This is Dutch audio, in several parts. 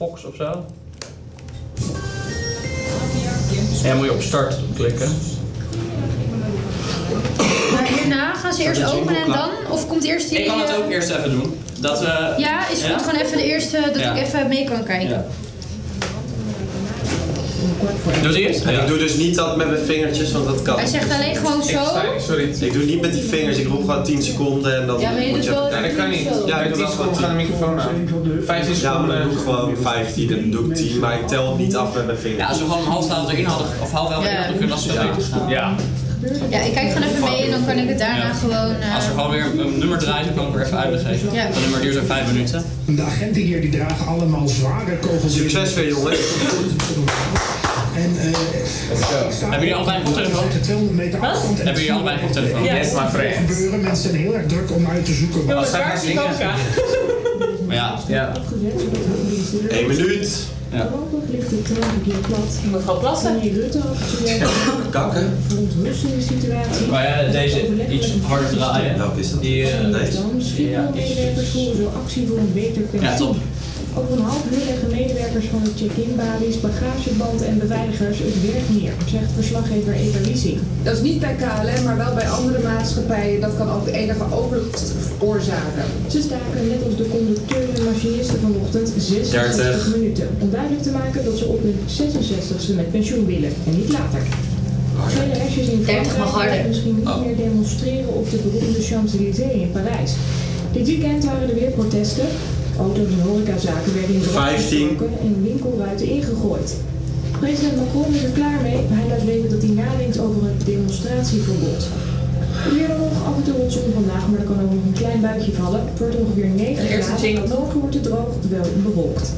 Fox of zo. En dan moet je op start klikken. Maar hierna gaan ze eerst is openen en ongeklapt. dan? Of komt eerst die... Ik kan het eh, ook eerst even doen. Dat, eh, Ja, is goed. Gewoon even de eerste, dat Ja. ik even mee kan kijken. Ja. Doe het eerst? En ik doe dus niet dat met mijn vingertjes, want dat kan. Hij zegt alleen gewoon zo. Sorry. Ik doe niet met die vingers, ik roep gewoon 10 seconden en dan Ja, maar je moet doet je wel even- Ja, dat kan niet. Zo. Ja, Ja, ik doe met 10 wel seconden gaat de microfoon aan. 15 Ja, maar dan doe seconden. ik gewoon 15 en dan doe ik 10, maar ik tel het niet af met mijn Ja, als vingers. we gewoon een half staat erin hadden, of half elf erin Ja. hadden kunnen, was het wel beter staan. Ja. Ja, ik kijk gewoon even mee en dan kan ik het daarna Ja. gewoon... eh, Als er gewoon weer een nummer draait, dan kan ik er even uitleg geven. Ja. Dat nummer duurt ook vijf minuten. De agenten hier die dragen allemaal zware kogels. in. Succes weer, jongens. En eh Hebben jullie allebei een koptelefoon? 200 meter afstand. en Hebben jullie allebei een koptelefoon? Ja. Yes, my friend. gebeuren. Mensen zijn heel erg druk om uit te zoeken. wat- Als zij gaat zingen. Maar ja, Ja. 1 minuut. Voorlopig ligt de trein hier plat. Ik moet gewoon plassen. Wanneer Rutte actueel Kakken. onthulsende situatie. maar ja deze iets harder draaien. Welke is dat? Die, eh, Deze. Dan Schiphol-medewerkers voeren zo actie voor een beter Ja, kunnen. top. Over een half uur leggen medewerkers van de check-in balies, bagagebanden en beveiligers het werk neer, zegt verslaggever Eva Wiesing. Dat is niet bij KLM, maar wel bij andere maatschappijen. Dat kan ook enige overlast veroorzaken. Ze staken net als de conducteur en machinisten vanochtend 66 30. minuten om duidelijk te maken dat ze op hun 66ste met pensioen willen en niet later. Vele restjes in 30 mag Frankrijk harder. gaan misschien niet meer demonstreren op de beroemde Champs-Élysées in Parijs. Dit weekend waren er weer protesten. Auto's en horecazaken werden in brand 15. gestoken en winkelruiten ingegooid. President Macron is er klaar mee, maar hij laat weten dat hij nadenkt over het demonstratieverbod. Het Weer dan nog af en toe zon vandaag, maar er kan ook nog een klein buitje vallen. Het wordt ongeveer 9 De eerste graden. jingle. Morgen wordt het droog, wel bewolkt.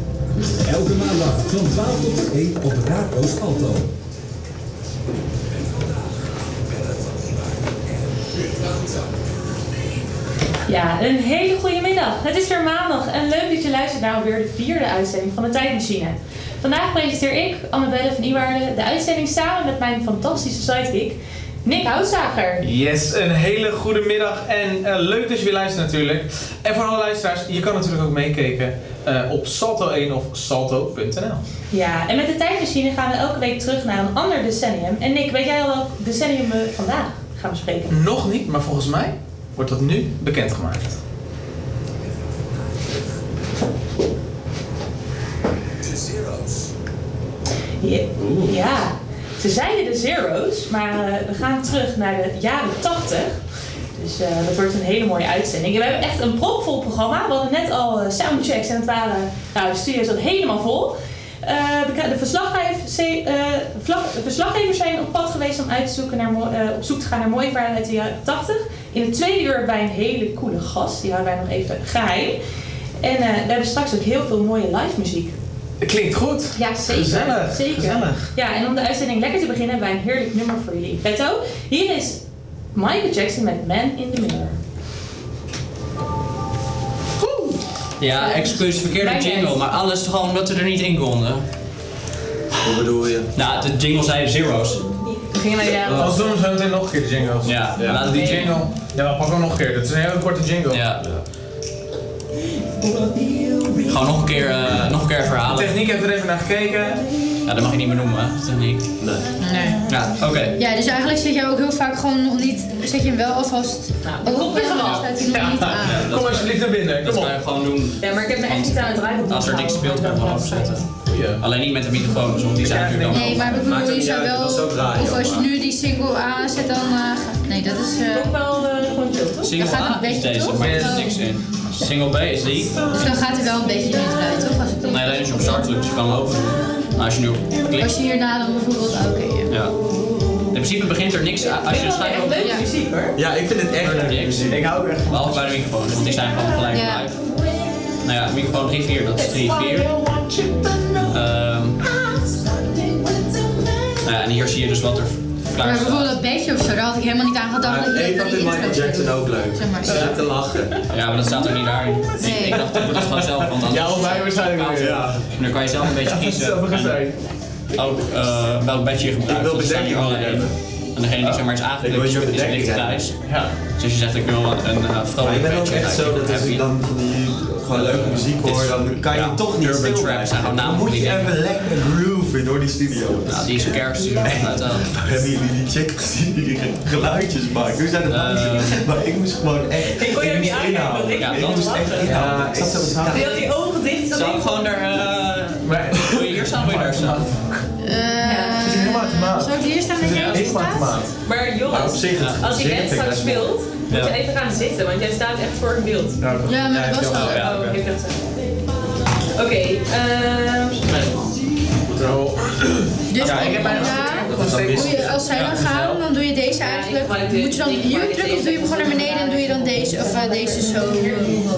Elke maandag van 12 tot 1 op Raadloos Alto. Ja, een hele goede middag. Het is weer maandag en leuk dat je luistert naar alweer de vierde uitzending van de Tijdmachine. Vandaag presenteer ik, Annabelle van Iwaarde, de uitzending samen met mijn fantastische sidekick, Nick Houtzager. Yes, een hele goede middag en eh, leuk dat je weer luistert natuurlijk. En voor alle luisteraars, je kan natuurlijk ook meekijken eh, op salto1 of salto.nl. Ja, en met de Tijdmachine gaan we elke week terug naar een ander decennium. En Nick, weet jij al welk decennium we vandaag gaan bespreken? Nog niet, maar volgens mij wordt dat nu bekendgemaakt. Ja. Ja. Ze zeiden de zero's, maar eh, we gaan terug naar de jaren 80. Dus eh, dat wordt een hele mooie uitzending. En we hebben echt een propvol programma. We hadden net al eh, soundchecks en het waren, nou, de studio zat helemaal vol. Eh, we krijgen- de, verslaggevers, eh, vlag- de verslaggevers zijn op pad geweest om uit te zoeken naar, mo- eh, op zoek te gaan naar mooie verhalen uit de jaren 80. In het tweede uur hebben wij een hele coole gast. Die houden wij nog even geheim. En eh, we hebben straks ook heel veel mooie live muziek. Klinkt goed. Ja, zeker. Gezellig. zeker. Gezellig. Ja, en om de uitzending lekker te beginnen hebben wij een heerlijk nummer voor jullie in petto. Hier is Michael Jackson met Man in the Mirror. Ja, excuus, verkeerde Mijn jingle, juist. maar alles toch gewoon omdat we er niet in konden. Hoe bedoel je? Nou, de jingle zei zeros. We gingen naar de jaren Als doen we zo meteen nog een keer de jingles. Ja, Ja. laten we die Die jingle. jingle. Ja, we pakken hem nog een keer. Dat is een hele korte jingle. Ja. Gewoon nog een keer, eh, nog een keer De verhalen. techniek heeft er even naar gekeken. Ja, dat mag je niet meer noemen, hè, de techniek. Nee. nee. Ja, oké. Ja, dus eigenlijk zet jij ook heel vaak gewoon nog niet... Zet je hem wel alvast... Nou, Oh, dat komt best wel. staat hij nog niet aan. Ja, dat- dus- Kom alsjeblieft naar binnen. Dat Kom kan op. je gewoon doen. Ja, maar ik heb me echt niet aan het draaien. Als er niks speelt, kan je gewoon opzetten. Alleen niet met de microfoons, want die zijn natuurlijk dan... Nee, maar ik bedoel, Maakt ook je niet zou uit, wel... dat is ook radio, Of als je maar. nu die single aanzet, dan... eh, nee, dat is... eh, Ook wel eh, gewoon chill, toch? Daar Single gaat een A is beetje deze, toch? maar er zit Oh. niks in. Single B is die. dus dan gaat er wel een beetje in het geluid, toch? Als, ik dat- Nee, alleen als je op start drukt, dus je kan hem open. Maar als je nu op als klikt, je hierna dan bijvoorbeeld... Oké, ja. ja. In principe begint er niks aan. Als je Ik een vind wel schijf echt op leuke Ja. muziek hoor. Ja, ik vind het echt leuk. niks. Ik hou ook echt van. Behalve bij de microfoons, want die zijn gewoon gelijk Ja. live. Nou ja, microfoon 3-4, dat is 3-4. Ehm, nou ja, en hier zie je dus wat er Maar klaar staat. bijvoorbeeld dat bedje of zo, daar had ik helemaal niet aan gedacht. Maar dat je dat Eva bij die vindt Michael intro zou Jackson doen. ook leuk. Zeg maar, Ze zit te lachen. Ja, maar dat staat er niet daarin. Ik, ik dacht, dat moet het gewoon zelf, want anders... Ja, wij waarschijnlijk weer. Ja. En dan kan je zelf een beetje kiezen. Sommige En zijn. ook eh, welk bedje je gebruikt. Ik wil want er staan hier bedekking allerlei. hebben. En degene die zeg maar is aangeklikt, Ah. wil is je een bedekking lichte hebben. prijs. Ja. Dus als je zegt, ik wil een eh, Maar ik vrolijk ben ook bedje, echt zo dat heb als je ik niet. dan van die gewoon leuke muziek hoor, dan kan je toch niet Urban stil trap zijn blijven. gewoon Dan namen. moet je even lekker grooven door die studio. Ja, die is een kerst. Hebben jullie die chick gezien die die geluidjes maakt? Hoe zijn de meisjes? Maar ik moest gewoon echt. Ik kon je ook niet moest aankijken, inhouden. want ik Ja, moest dat moest lachen. echt inhouden. Ja, ik zat zo te Die kijken. had die ogen dicht. dat Zou ik- gewoon daar. eh, Wil je hier staan of wil je daar staan? Ze is helemaal uit de maat. Zou ik hier staan met jij Ze is helemaal uit de maat. Maar Maar op jongens, zich, het als je gezicht net vind ik straks best wel- speelt, moet je even gaan zitten, want jij staat echt voor een beeld. Ja, maar dat was Oh, wel. oké, ik dacht zo. Oké, ehm... Dus ik heb bijna ja, Dat is een doe je, als zij dan gaan, dan doe je deze eigenlijk. maar ik doe- Moet je dan ik- hier maar ik drukken of deze- doe je hem gewoon naar beneden en doe je dan deze of eh, deze zo?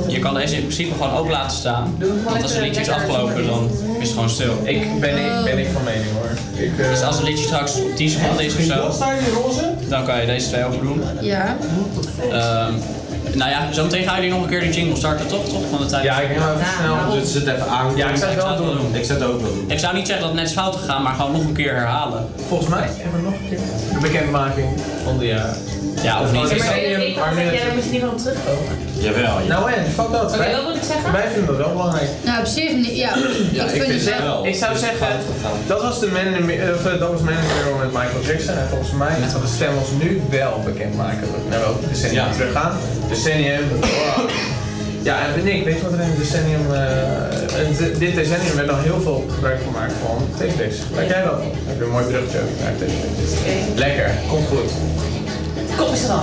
Je kan deze in principe gewoon open laten staan. Want als een liedje is afgelopen, dan is het gewoon stil. Ik ben, ik ben ik van mening hoor. Ik, eh, Dus als een liedje straks op 10 seconden is of zo, dan kan je deze twee open doen. Ja. Ehm, nou ja, zometeen gaan jullie nog een keer die jingle starten, toch? toch? Van de tijd. ja, ik neem even snel. Dus het even aan. Ja, ik zou het wel zou het wel doen. doen. Ik zou het ook wel doen. Ik zou niet zeggen dat het net is fout gegaan, maar gewoon nog een keer herhalen. dus Volgens mij hebben we nog een keer de bekendmaking van de jaar. Ja, of niet? Ja, maar Armin- ik dacht dat Armin- jij daar moet je niet meer op terugkomen. Jawel, ja. Nou en, fuck dat. Oké, Wij, wat moet ik zeggen? wij vinden dat wel belangrijk. Nou, op zich niet. Ja, ik vind het wel. Ik zou Dus zeggen, fout gegaan. dat was de Man in the Mirror- of, eh, dat was Man in the Mirror met Michael Jackson. En volgens mij gaat de stem ons nu wel bekendmaken. Naar welke decennium Ja. we teruggaan. Decennium. wow. Ja, en Nick, weet je wat er in het decennium... eh, in de- dit decennium werd al heel veel gebruik gemaakt van tv's. Weet jij dat? Heb je een mooi bruggetje ook naar tv's. Lekker, komt goed. Kom eens eraf.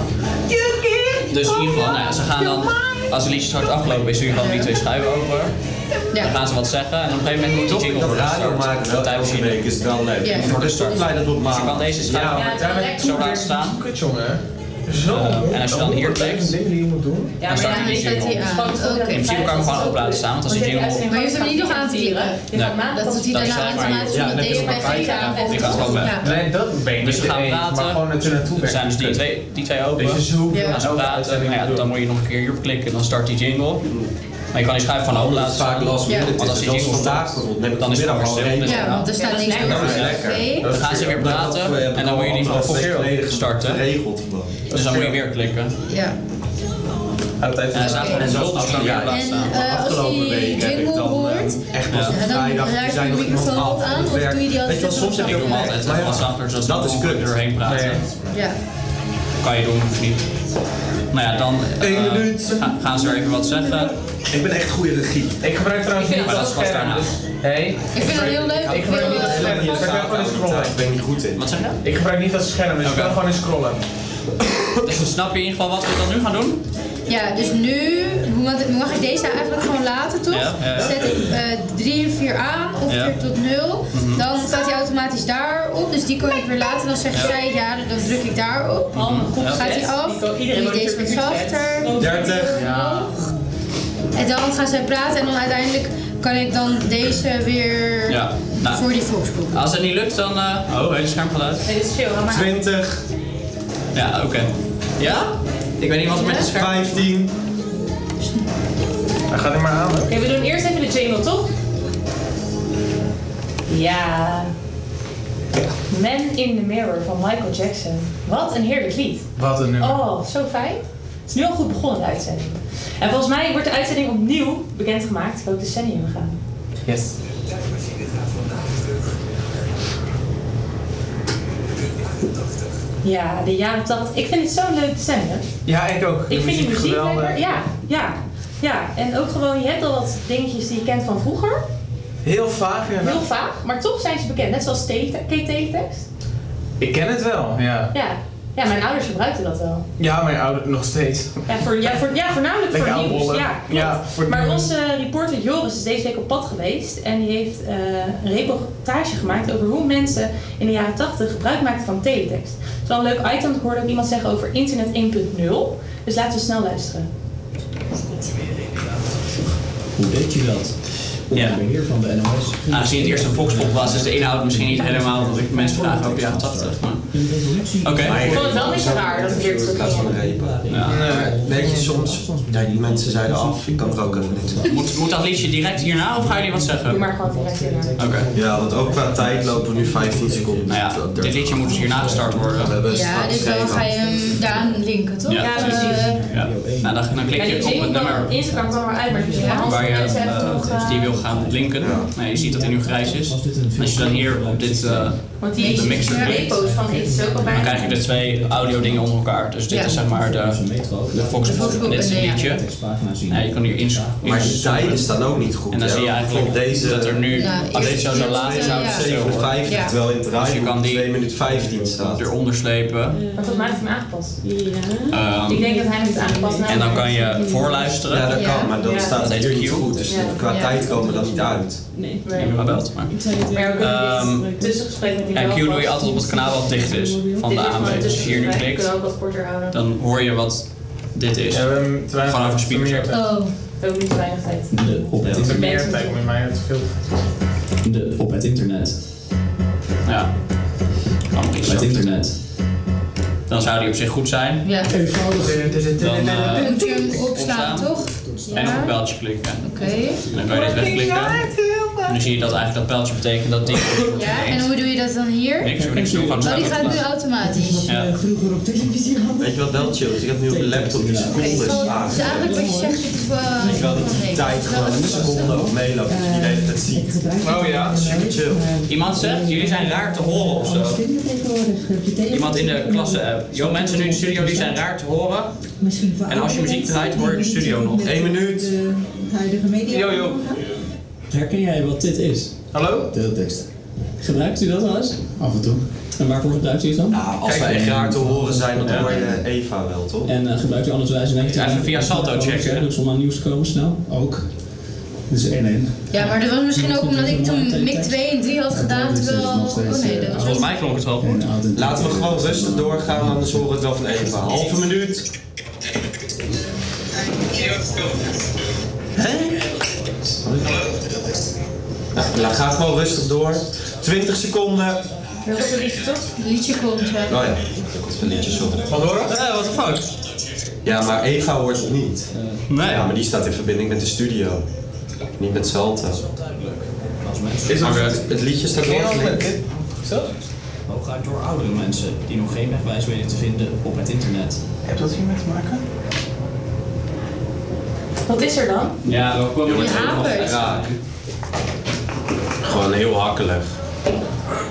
Dus in ieder geval, nou ja, ze gaan dan, als een liedje straks afgelopen is, doe je gewoon die twee schuiven open. Dan Ja. gaan ze wat zeggen en op een gegeven moment moet Toch die ik jingle dat worden radio gestart. maken wel tijdens elke jullie. week is wel leuk. Ja. Ik word er toch blij dat we op Dus je kan maandag. deze Ja, schuiven maar daar ben ik zo laten staan. Kut jongen. Zo. Eh, en als je dan hier klikt- dingen die je moet doen. Ja, Dan maar start ja, hij dit niet is- meer het is gewoon op. goed. Oké. In principe kan ik hem gewoon open laten staan, want als die jingle- Maar je hoeft hem niet nog aan te tieren. Dat doet hij Dat is daarna alleen maar- automatisch, ja, want dan heb je deze hem bij erbij geven gedaan. aan. Die gaat gewoon weg. Nee, dat ben ik Dus niet we gaan mee eens, maar praten. gewoon er naartoe Er zijn dus die twee, die twee open. Weet je, zo Ja. Als ze praten, nou ja, dan moet je nog een keer hierop klikken en dan start die jingle. Maar je kan die schuif gewoon open Dat laten is vaak staan. last minute. Want als die Dat is jingle vandaag stopt, bijvoorbeeld. Neem ik dan is het vanmiddag gewoon al stil. een. Ja, want er staat niks meer. Dat is op. lekker. Oké. Dan gaan ze weer praten en dan moet je die van voren starten. Geregeld gewoon. Dus dan moet je weer klikken. Ja. Altijd En dan staat gewoon En een zo- dobbel ja, ja, En staan. eh, als Afgelopen die week heb ik jingle dan eh, hoort, echt pas op Ja. En dan vrijdag. raak die je zijn de nog helemaal microfoon af aan, het of werk. doe je die Weet je altijd wel, soms heb Ik je doe ook hem altijd Maar ja, wat zachter, zodat dat we is gewoon kut. er doorheen praten. Nee. ja. Kan je doen of niet. Nou ja, dan eh, Eén minuut. ga- gaan ze er even wat zeggen. Ik ben echt goede regie. Ik gebruik trouwens Ik niet vind dat dat wel scherm. standaard. Dus, hey, Ik vind het heel leuk. ik Ik gebruik wil niet dat eh, scherm. Ik gebruik gewoon een scrollen. Ik ben niet goed in. Wat zeg je? Ik gebruik niet dat scherm, dus ik Oké. kan gewoon in scrollen. Dus dan snap je in ieder geval wat we dan nu gaan doen. Ja, dus nu hoe- want mag ik deze eigenlijk gewoon laten, toch? Ja, ja, ja. Zet ik 3 en 4 aan, ongeveer Ja. tot 0. Dan staat hij automatisch daarop, dus die kan ik weer laten. Dan zegt zij ja, dan druk ik daarop. Gaat hij af, Die kan iedereen doe ik wel deze wat natuurlijk zachter. 30. En dan gaan zij praten en dan uiteindelijk kan ik dan deze weer Ja, nou. voor die volksgroep. Als het niet lukt, dan. eh, Oh, hele scherm gaat uit. Nee, dit is chill, hou maar. 20. Ja, oké. Ja? Ik weet niet wat er met het scherm. 15. Hij gaat er maar aan. hè. Oké, we doen eerst even de jingle, toch? Ja. Man in the Mirror van Michael Jackson. Wat een heerlijk lied. Wat een nummer. Oh, zo fijn. Het is nu al goed begonnen, de uitzending. En volgens mij wordt de uitzending opnieuw bekendgemaakt welk decennium we gaan. Yes. Ja, de jaren 80. Ik vind het zo'n leuk decennium. Ja, ik ook. Ik vind die muziek geweldig. lekker. Ja, ja, ja. En ook gewoon, je hebt al wat dingetjes die je kent van vroeger. Heel vaag Heel inderdaad. vaag, maar toch zijn ze bekend. Net zoals tele- Kate Teletext. Ik ken het wel, ja. Ja. ja, mijn ouders gebruikten dat wel. Ja, mijn ouder nog steeds. Ja, voor, ja, voor, ja voornamelijk Lekker voor nieuws. aanrollen. Ja, klopt. Ja, voor het maar nieuws. onze reporter Joris is deze week op pad geweest. En die heeft eh, een reportage gemaakt over hoe mensen in de jaren 80 gebruik maakten van teletext. Het is wel een leuk item. Ik hoorde ook iemand zeggen over internet 1.0. Dus laten we snel luisteren. Hoe deed je dat? onder beheer van de NOS. Aangezien het eerst een foxpop was, is de inhoud misschien niet helemaal dat ik mensen vraag over de jaren 80. Maar... Oké. Ik vond het wel een beetje raar dat ik weer terug Dat is wel ging. repen. Weet je, soms, ja, die mensen zeiden af, ik kan er ook even niks aan. Moet, moet dat liedje direct hierna of gaan jullie wat zeggen? Doe maar gewoon direct in. Oké. Ja, want ook qua tijd lopen we nu 15 seconden. Nou ja, dit liedje moet dus hierna gestart worden. We Ja, hebben straks dus dan ga je hem daaraan linken, toch? Ja, precies. Eh, Ja. Nou, dan, dan klik En je je op ziet het nummer wel, Instagram kwam eruit, maar misschien ja, waar je mensen hebben eh, nog... dus eh, die wil gaan linken. Nou, je ziet dat hij nu grijs is. Als je dan hier op dit, eh, Want op de die mixer klikt, repo's van dit is ook al dan bijna... krijg je de twee audio dingen onder elkaar. Dus dit Ja. is zeg maar de, de Foxpop. Foxpop Dit is en een de- liedje. Ja, je kan hier ins. Maar die ins- tijden staan ook niet goed. En dan hè? zie je eigenlijk Bijvoorbeeld deze dat er nu, Nou, als dit eerst- zou zo eerst- laat is, zou het ja. stil worden. 57, Ja. terwijl in het Dus je draaiboek kan die- 2 minuut 15 staat. eronder slepen. Maar volgens mij heeft hij hem aangepast. Ehm, Ik denk dat hij hem heeft aangepast. en dan kan je voorluisteren. Ja, dat Ja. kan, maar dan Ja. staat het Dat is hier niet cute. goed. Dus Ja. qua Ja. tijd komen we dan niet uit. Nee. Ik heb gebeld, maar. Maar we Ehm, kunnen dit tussengesprek met die En Q wel doe je vast- altijd op het kanaal wat dicht is van Dit de is gewoon AMB. een Dus hier nu tussengesprek. We klikt, kunnen ook wat korter houden. dan hoor je wat dit is. Ja, we hebben te weinig Gewoon over te speakers. Ehm, meer- Oh, Ook niet te weinig tijd. De, op, het te internet, meer tijd met mij te veel. de, op het internet. Ja. Kan nog iets Het zo. internet. Dan zou die op zich goed zijn. ja. Dan, eh, Dan kun je hem opslaan, opslaan. toch? en op Ja, het oké. pijltje klikken. En dan kan je dit wegklikken. En dan zie je dat eigenlijk dat pijltje betekent dat die wordt Ja, en ineens. hoe doe je dat dan hier? Niks, we niks doen, gewoon Oh, staan die op gaat het nu pijltje. automatisch. Ja. eh, Vroeger op televisie hadden. Weet je wat wel chill is? Ik heb nu op mijn laptop die Oké, secondes aan. dus eigenlijk wat je zegt, het is wel... Ik wil dat die tijd gewoon een seconde op meeloopt. Dat je die de hele tijd ziet. Oh ja. Super chill. eh, Iemand zegt, jullie zijn raar te horen of zo. Iemand in de klasse-app. Yo, mensen nu in de studio, die zijn raar te horen. En als je muziek draait, hoor je de studio nog. 1 minuut. Yo, yo. Herken jij wat dit is? Hallo? Deeltekst. Gebruikt u dat wel eens? Af en toe. En waarvoor gebruikt u het dan? Nou, als wij echt raar te horen zijn, dan hoor je Eva wel, toch? En eh, gebruikt u anders wijze negatief? Ja, even via Salto checken, hè? Dus om aan nieuws te komen snel? Ook. Dus 1-1. Ja, maar dat was misschien ook omdat ik toen mik 2 en 3 had gedaan, terwijl... Oh nee, dat was... Volgens mij klonk het wel goed. Laten we gewoon rustig doorgaan, anders horen we het wel van Eva. Halve minuut. Hé? Nou, la- ga gewoon rustig door. 20 seconden. Oh Wil dat een liedje toch? Het liedje komt, ja. ja, dat komt een liedje, sorry. Wat horen? Eh, wat een fout. Ja, maar Eva hoort het niet. Nee. Ja, maar die staat in verbinding met de studio. Niet met Salta. Is Maar het het, het liedje staat wel gelijk. zo? Hooguit door oudere mensen die nog geen wegwijs weten te vinden op het internet. Heb dat hiermee te maken? Wat is er dan? Ja, we komen Je hapert. Raak. Gewoon heel hakkelig.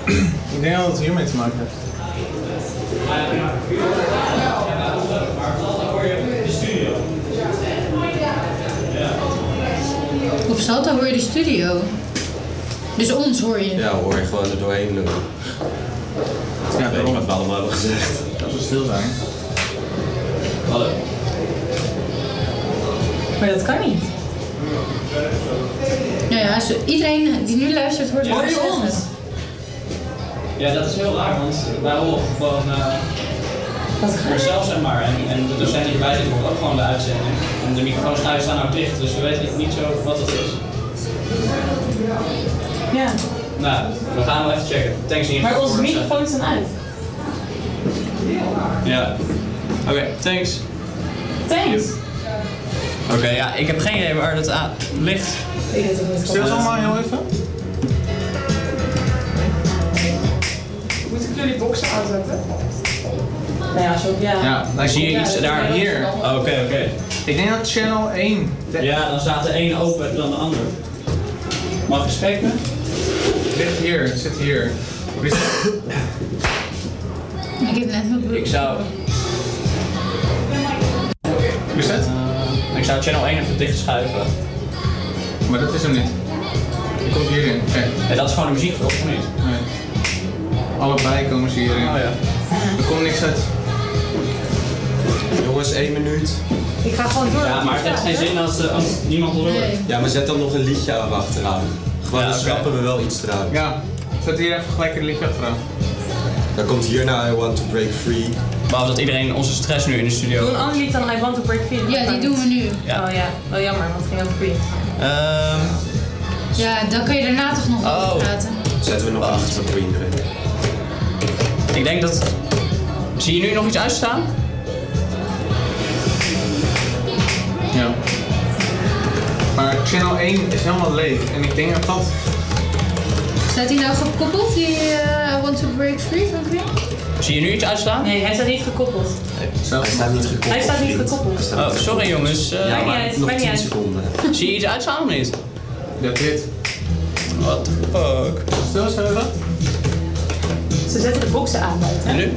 Ik denk dat het hiermee te maken heeft. Op Salto hoor je de studio. Dus ons hoor je. Ja, hoor je gewoon er doorheen doen. Ja, weet ik wat we allemaal hebben gezegd. Dat is stil zijn. Hallo. Maar dat kan niet. Nou ja, zo- iedereen die nu luistert hoort Hoor je ons. Ja, dat is heel raar, want wij horen gewoon eh Dat kan niet. zelf zeg maar. En, en de docent die erbij zit hoort ook gewoon de uitzending. En de microfoons thuis staan ook dicht, dus we weten niet zo wat het is. Ja. Nou, we gaan wel even checken. Thanks in ieder Maar geval onze voor het zeggen. microfoons zijn uit. Ja. Oké, thanks. Thanks. Oké, ja, ik heb geen idee waar dat aan ligt. Ik weet het niet. Stil zijn maar heel even. Moeten jullie boxen aanzetten? Nou ja, zo, ja. Ja, Dan zie je Ja, iets dat daar, is wel hier. interessant. Oké, oké. Ik denk dat channel 1. de- Ja, dan staat de een open dan de ander. Mag ik spreken? Ligt hier, zit hier. Wie is- Ik heb net mijn broek. Ik zou, Wie is het? ik zou channel 1 even dicht schuiven. Maar dat is hem niet. Die komt hierin. Kijk. En dat is gewoon de muziek, toch? Of niet? Nee. Allebei komen ze hierin. Oh ja. Er komt niks uit. Jongens, één minuut. Ik ga gewoon door. Ja, maar het heeft geen zin als, eh, als niemand wil horen. Nee. Ja, maar zet dan nog een liedje aan achteraan. Gewoon, Ja, dan oké. schrappen we wel iets eraan. Ja. Zet hier even gelijk een liedje achteraan. Dan komt hierna I Want To Break Free. Behalve dat iedereen onze stress nu in de Doe studio. een ander lied dan I Want To Break Free. Ja, die doen we nu. Ja. Oh ja, wel jammer, want het ging over Queen. Ehm, Ja, dan kun je daarna toch nog over praten. Zetten we nog achter voor iedereen. Ik denk dat... Zie je nu nog iets uitstaan? Ja. Maar channel 1 is helemaal leeg en ik denk dat dat... Staat hij nou gekoppeld, die eh, I Want to Break Free van Queen? Zie je nu iets uitstaan? Nee, hij staat niet gekoppeld. Hij staat niet gekoppeld. Hij staat niet gekoppeld. Oh, sorry jongens. eh, Ja, Maakt maar niet uit, nog maakt 10 niet uit. seconden. Zie je iets uitstaan of niet? Dat dit. What the fuck? Stil, zijn we dat? Ze zetten de boxen aan buiten. En nu?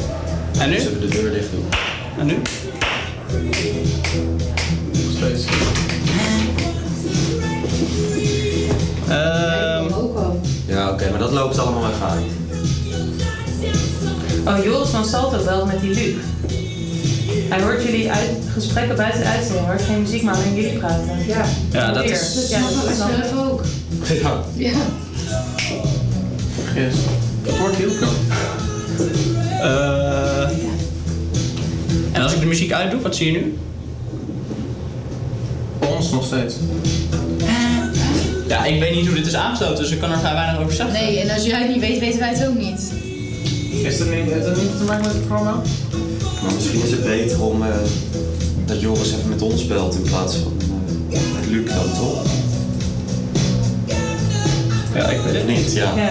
En nu? Zullen we de deur dicht doen? En nu? Steeds. Ehm Ja, oké, maar dat loopt allemaal even uit. Oh, Joris van Salto wel met die Luc. Hij hoort jullie uit, gesprekken buiten de uitzending, hoort geen muziek, maar alleen jullie praten. Ja. ja, dat Weer. is... Dus ja, dat is dan Zelf ook. Ja. Ja. Yes. Het wordt heel knap. eh en als ik de muziek uitdoe, wat zie je nu? Voor ons nog steeds. Ja, ik weet niet hoe dit is aangesloten, dus ik kan er vrij weinig over zeggen. Nee, en als jij het niet weet, weten wij het ook niet. Is dat niet, heeft dat niet te maken met het programma? Maar misschien is het beter om eh, dat Joris even met ons belt in plaats van eh, met Luc dan, toch? Ja, ik weet het. Of niet, ja. Ja.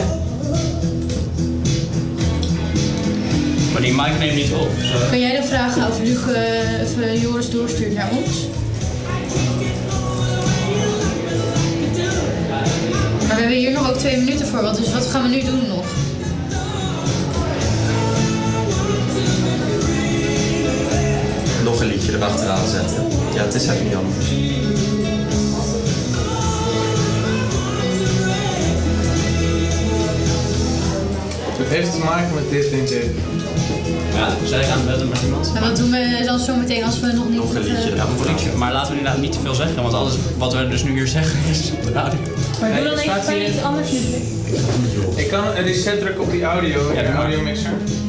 Maar die mic neemt niet op. dus, eh, Kun jij de vragen of Luc eh, of, eh, Joris doorstuurt naar ons? Maar we hebben hier nog ook twee minuten voor, wat, dus wat gaan we nu doen nog? Nog een liedje erachteraan zetten. Ja, het is even niet anders. Het heeft te maken met dit, denk ik. ja, zij gaan bellen met iemand. En wat doen we dan zo meteen als we nog niet... Nog een liedje eh, erachteraan. Maar laten we inderdaad niet te veel zeggen, want alles wat we dus nu hier zeggen is op de radio. Maar doe Hey, dan even staat fijn hier- iets anders nu. Ik kan een reset drukken op die audio, doe de maar. audio mixer.